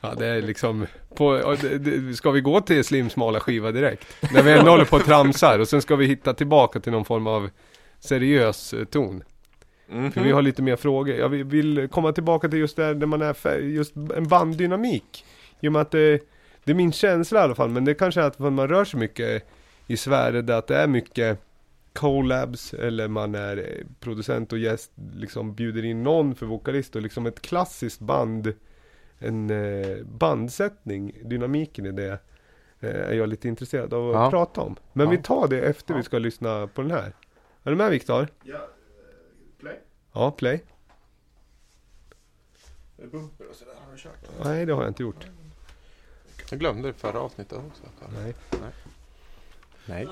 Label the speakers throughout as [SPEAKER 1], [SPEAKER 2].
[SPEAKER 1] Ja, det är liksom, på, ja, det- det- ska vi gå till Slims smala skiva direkt? När vi ändå håller på och tramsar och sen ska vi hitta tillbaka till någon form av seriös eh, ton.
[SPEAKER 2] Mhm.
[SPEAKER 3] Mm.
[SPEAKER 1] För vi har lite mer frågor. Jag vill- vill komma tillbaka till just det här där man är, fär- just en banddynamik. I och med att det, det är min känsla i alla fall, men det kanske är att man rör sig mycket i Sverige där att det är mycket collabs eller man är eh, producent och gäst, liksom bjuder in någon för vokalist och liksom ett klassiskt band, en eh, bandsättning, dynamiken i det eh, är jag lite intresserad av att
[SPEAKER 2] Ja.
[SPEAKER 1] prata om. Men
[SPEAKER 2] Ja.
[SPEAKER 1] vi tar det efter
[SPEAKER 2] Ja.
[SPEAKER 1] vi ska lyssna på den här. Är du med Viktor?
[SPEAKER 4] Ja, play.
[SPEAKER 1] Ja, play.
[SPEAKER 4] Bumper och sådär har du kört.
[SPEAKER 1] Nej, det har jag inte gjort.
[SPEAKER 2] Jag glömde det förra avsnittet också.
[SPEAKER 1] Nej.
[SPEAKER 2] Nej.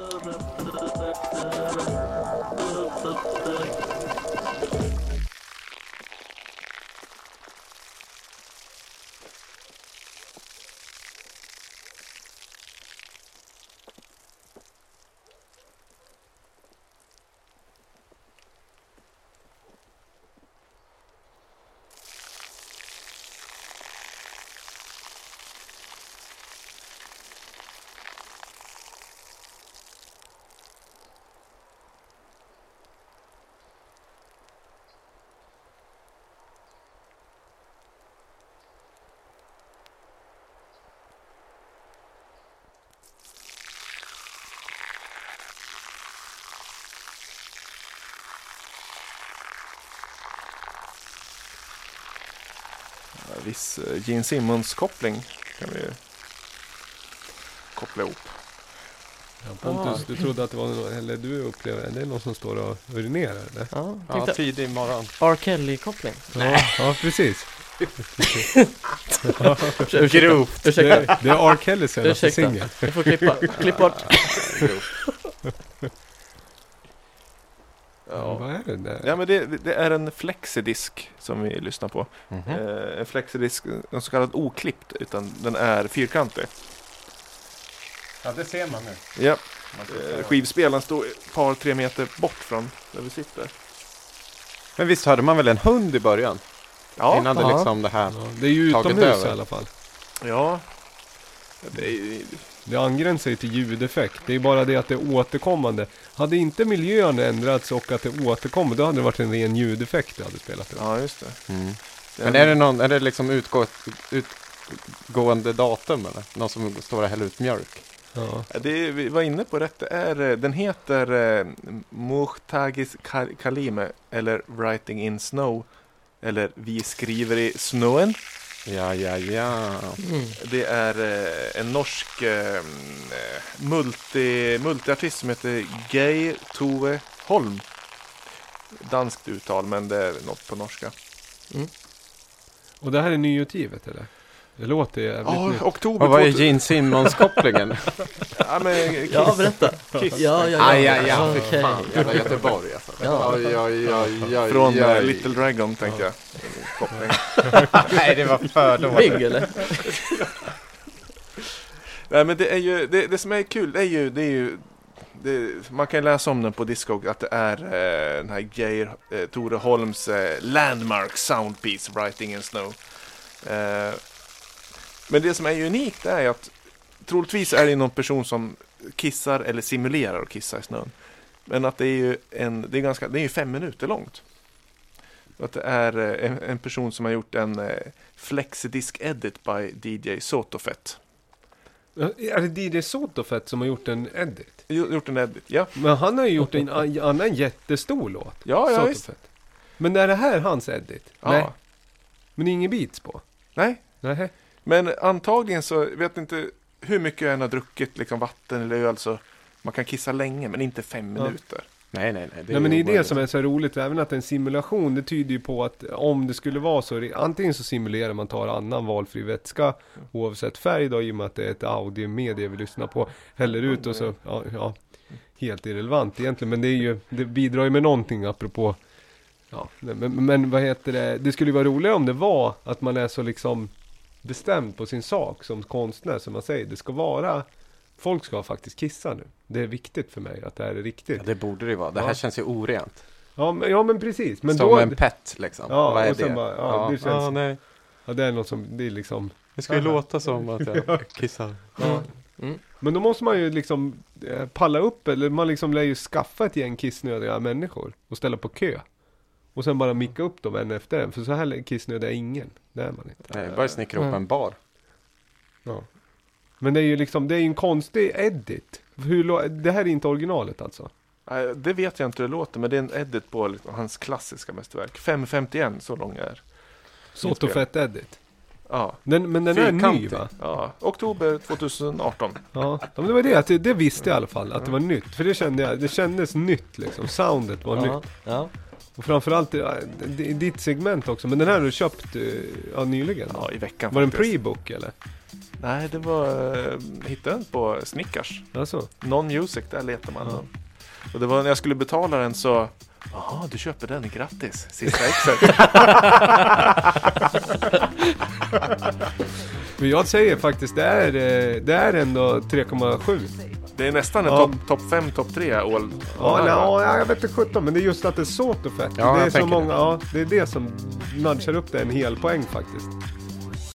[SPEAKER 2] Viss eh, Gene Simmons-koppling kan vi ju koppla ihop.
[SPEAKER 1] Ja, Pontus, du trodde att det var någon, eller du upplever, det är någon som står och urinerar eller?
[SPEAKER 5] Ja, typ.
[SPEAKER 2] Ja,
[SPEAKER 5] tänkte
[SPEAKER 2] tidig morgon.
[SPEAKER 5] R. Kelly-koppling.
[SPEAKER 1] Ja, ja precis.
[SPEAKER 5] Ursäkta, ursäkta.
[SPEAKER 1] Det, det är R. Kellys senaste
[SPEAKER 5] Ursäkta.
[SPEAKER 1] singel.
[SPEAKER 5] Jag får klippa, klipp bort.
[SPEAKER 1] Vad
[SPEAKER 2] Ja.
[SPEAKER 1] är det där?
[SPEAKER 2] Ja, men det, det är en flexidisk som vi lyssnar på. Eh, En flexidisk, en så kallad oklippt, utan den är fyrkantig.
[SPEAKER 3] Ja, det ser man nu.
[SPEAKER 2] Ja. Eh, Skivspelaren står ett par, tre meter bort från där vi sitter.
[SPEAKER 3] Men visst hörde man väl en hund i början?
[SPEAKER 2] Ja,
[SPEAKER 3] Innan det
[SPEAKER 1] Ja.
[SPEAKER 3] liksom det här.
[SPEAKER 1] Ja, det är ju
[SPEAKER 3] Taget
[SPEAKER 1] utomhus i
[SPEAKER 3] över.
[SPEAKER 1] alla fall.
[SPEAKER 2] ja. Det är ju
[SPEAKER 1] Det angränsar ju till ljudeffekt. Det är bara det att det är återkommande. Hade inte miljön ändrats och att det återkommer, då hade det varit en ren ljudeffekt du hade spelat. Ja.
[SPEAKER 2] Ja, just det.
[SPEAKER 3] Men är det någon, är det liksom utgå, utgående datum eller? Någon som står och häller ut mjölk?
[SPEAKER 1] Ja.
[SPEAKER 2] Ja, Det är, vi var inne på rätt. Det är, eh, den heter eh, Muhtagis Kal- Kalime eller Writing in Snow. Eller Vi skriver i snön.
[SPEAKER 3] Ja, ja, ja.
[SPEAKER 5] Mm.
[SPEAKER 2] Det är eh, en norsk eh, multi, multiartist som heter Gay Tove Holm. Danskt uttal, men det är något på norska.
[SPEAKER 1] Och det här är nyutgivet eller? Det låter jävligt
[SPEAKER 2] Ja,
[SPEAKER 1] nytt.
[SPEAKER 2] Ah, oktober
[SPEAKER 3] Och vad är
[SPEAKER 2] 2000
[SPEAKER 3] Gene Simmons-kopplingen?
[SPEAKER 2] ja, men, Kiss.
[SPEAKER 5] Ja, berätta.
[SPEAKER 2] Kiss.
[SPEAKER 5] Ja, ja, ja.
[SPEAKER 3] Aj, aj, aj.
[SPEAKER 5] Okej.
[SPEAKER 3] Jävla Göteborg alltså.
[SPEAKER 5] Ja.
[SPEAKER 3] Oj, oj, oj, oj,
[SPEAKER 2] Från eh,
[SPEAKER 3] oj.
[SPEAKER 2] Little Dragon, tänkte jag. Koppling.
[SPEAKER 3] Nej, det var fördomar.
[SPEAKER 5] Bygg eller?
[SPEAKER 2] Nej men det är ju, det, det som är kul det är ju, det är ju det, man kan läsa om den på Discog att det är eh, den här Geir eh, Tore Holms eh, Landmark Soundpiece Writing in Snow. Eh, men det som är unikt är ju att troligtvis är det någon person som kissar eller simulerar att kissa i snön. Men att det är ju en, det är ganska, det är ju fem minuter långt. Och Att det är eh, en, en person som har gjort en eh, flexidisk edit by DJ Sotofett.
[SPEAKER 1] Är det DJ Sotofett som har gjort en edit?
[SPEAKER 2] Jo- Gjort en edit, ja.
[SPEAKER 1] Men han har ju gjort en an- annan jättestor låt.
[SPEAKER 2] Ja, ja
[SPEAKER 1] Sotofett.
[SPEAKER 2] visst.
[SPEAKER 1] Men är det här hans edit?
[SPEAKER 2] Ja.
[SPEAKER 1] Nej.
[SPEAKER 2] Nej.
[SPEAKER 1] Men det är ingen beats på? Nej.
[SPEAKER 2] Men antagligen så vet inte hur mycket jag än har druckit liksom vatten eller öl så man kan kissa länge men inte fem
[SPEAKER 1] Ja.
[SPEAKER 2] minuter.
[SPEAKER 3] Nej, nej, nej.
[SPEAKER 1] Nej men det är det som är så roligt, även att en simulation, det tyder ju på att om det skulle vara så, det- antingen så simulerar man tar annan valfri vätska oavsett färg då, i och med att det är ett audiomedie vi lyssnar på, häller ut och så, ja, ja helt irrelevant egentligen, men det är ju, det bidrar ju med någonting apropå, ja, nej, men, men vad heter det, det skulle ju vara roligare om det var att man är så liksom bestämd på sin sak som konstnär, som man säger, det ska vara, folk ska faktiskt kissa nu. Det är viktigt för mig att det här är riktigt.
[SPEAKER 3] Ja, det borde det ju vara. Det här
[SPEAKER 1] Ja.
[SPEAKER 3] känns ju orent.
[SPEAKER 1] Ja men, ja, men precis. Men
[SPEAKER 3] som
[SPEAKER 1] då,
[SPEAKER 3] en pet liksom.
[SPEAKER 1] Ja,
[SPEAKER 3] Vad är
[SPEAKER 1] och sen
[SPEAKER 3] det?
[SPEAKER 1] bara, ja, det känns-
[SPEAKER 3] nej.
[SPEAKER 1] ja, det är något som, det är liksom,
[SPEAKER 3] Det ska ju låta som att jag kissar.
[SPEAKER 5] Ja.
[SPEAKER 1] Men då måste man ju liksom eh, palla upp, eller man liksom lär ju skaffa ett gäng kissnödiga människor och ställa på kö. Och sen bara micka upp dem en efter en, för så här kissnödig är ingen. Det är man inte.
[SPEAKER 3] Nej, bara snickra ihop
[SPEAKER 5] Mm.
[SPEAKER 3] en bar.
[SPEAKER 1] Men det är ju liksom, det är ju en konstig edit. Hur, lå- det här är inte originalet alltså?
[SPEAKER 2] Nej, Det vet jag inte hur det låter, men det är en edit på liksom, hans klassiska mästerverk. 5.51, så lång är
[SPEAKER 1] Såt och fett edit.
[SPEAKER 2] Ja,
[SPEAKER 1] Den, men den är ny
[SPEAKER 3] Fyrkantig.
[SPEAKER 1] va?
[SPEAKER 2] ja. Oktober 2018.
[SPEAKER 1] Ja, Ja, men det var det, att det, det visste jag i alla fall, att det var nytt. För det kände jag, det kändes nytt liksom. Soundet var nytt.
[SPEAKER 5] Ja. Ja.
[SPEAKER 1] Och framförallt eh, d- i ditt segment också, men den här har du köpt eh, ja, nyligen?
[SPEAKER 2] Ja, i veckan
[SPEAKER 1] Var det en
[SPEAKER 2] faktiskt.
[SPEAKER 1] pre-book eller?
[SPEAKER 2] Nej, det var... eh, Hittade den på Snickars.
[SPEAKER 1] Alltså,
[SPEAKER 2] Non-music, där letar man den. Och det var när jag skulle betala den så... Jaha, du köper den, grattis! Sista exet.
[SPEAKER 1] men jag säger faktiskt, det är, eh, det är ändå 3,7.
[SPEAKER 2] det är nästan en
[SPEAKER 1] Ja.
[SPEAKER 2] topp top 5, topp 3 all
[SPEAKER 1] Ja, nej, ja, jag vet inte sjutton, men det är just att det är såt och fett.
[SPEAKER 3] Ja,
[SPEAKER 1] det är
[SPEAKER 3] jag
[SPEAKER 1] så
[SPEAKER 3] tänker
[SPEAKER 1] många,
[SPEAKER 3] det.
[SPEAKER 1] ja, det är det som nudgar upp det en hel poäng faktiskt.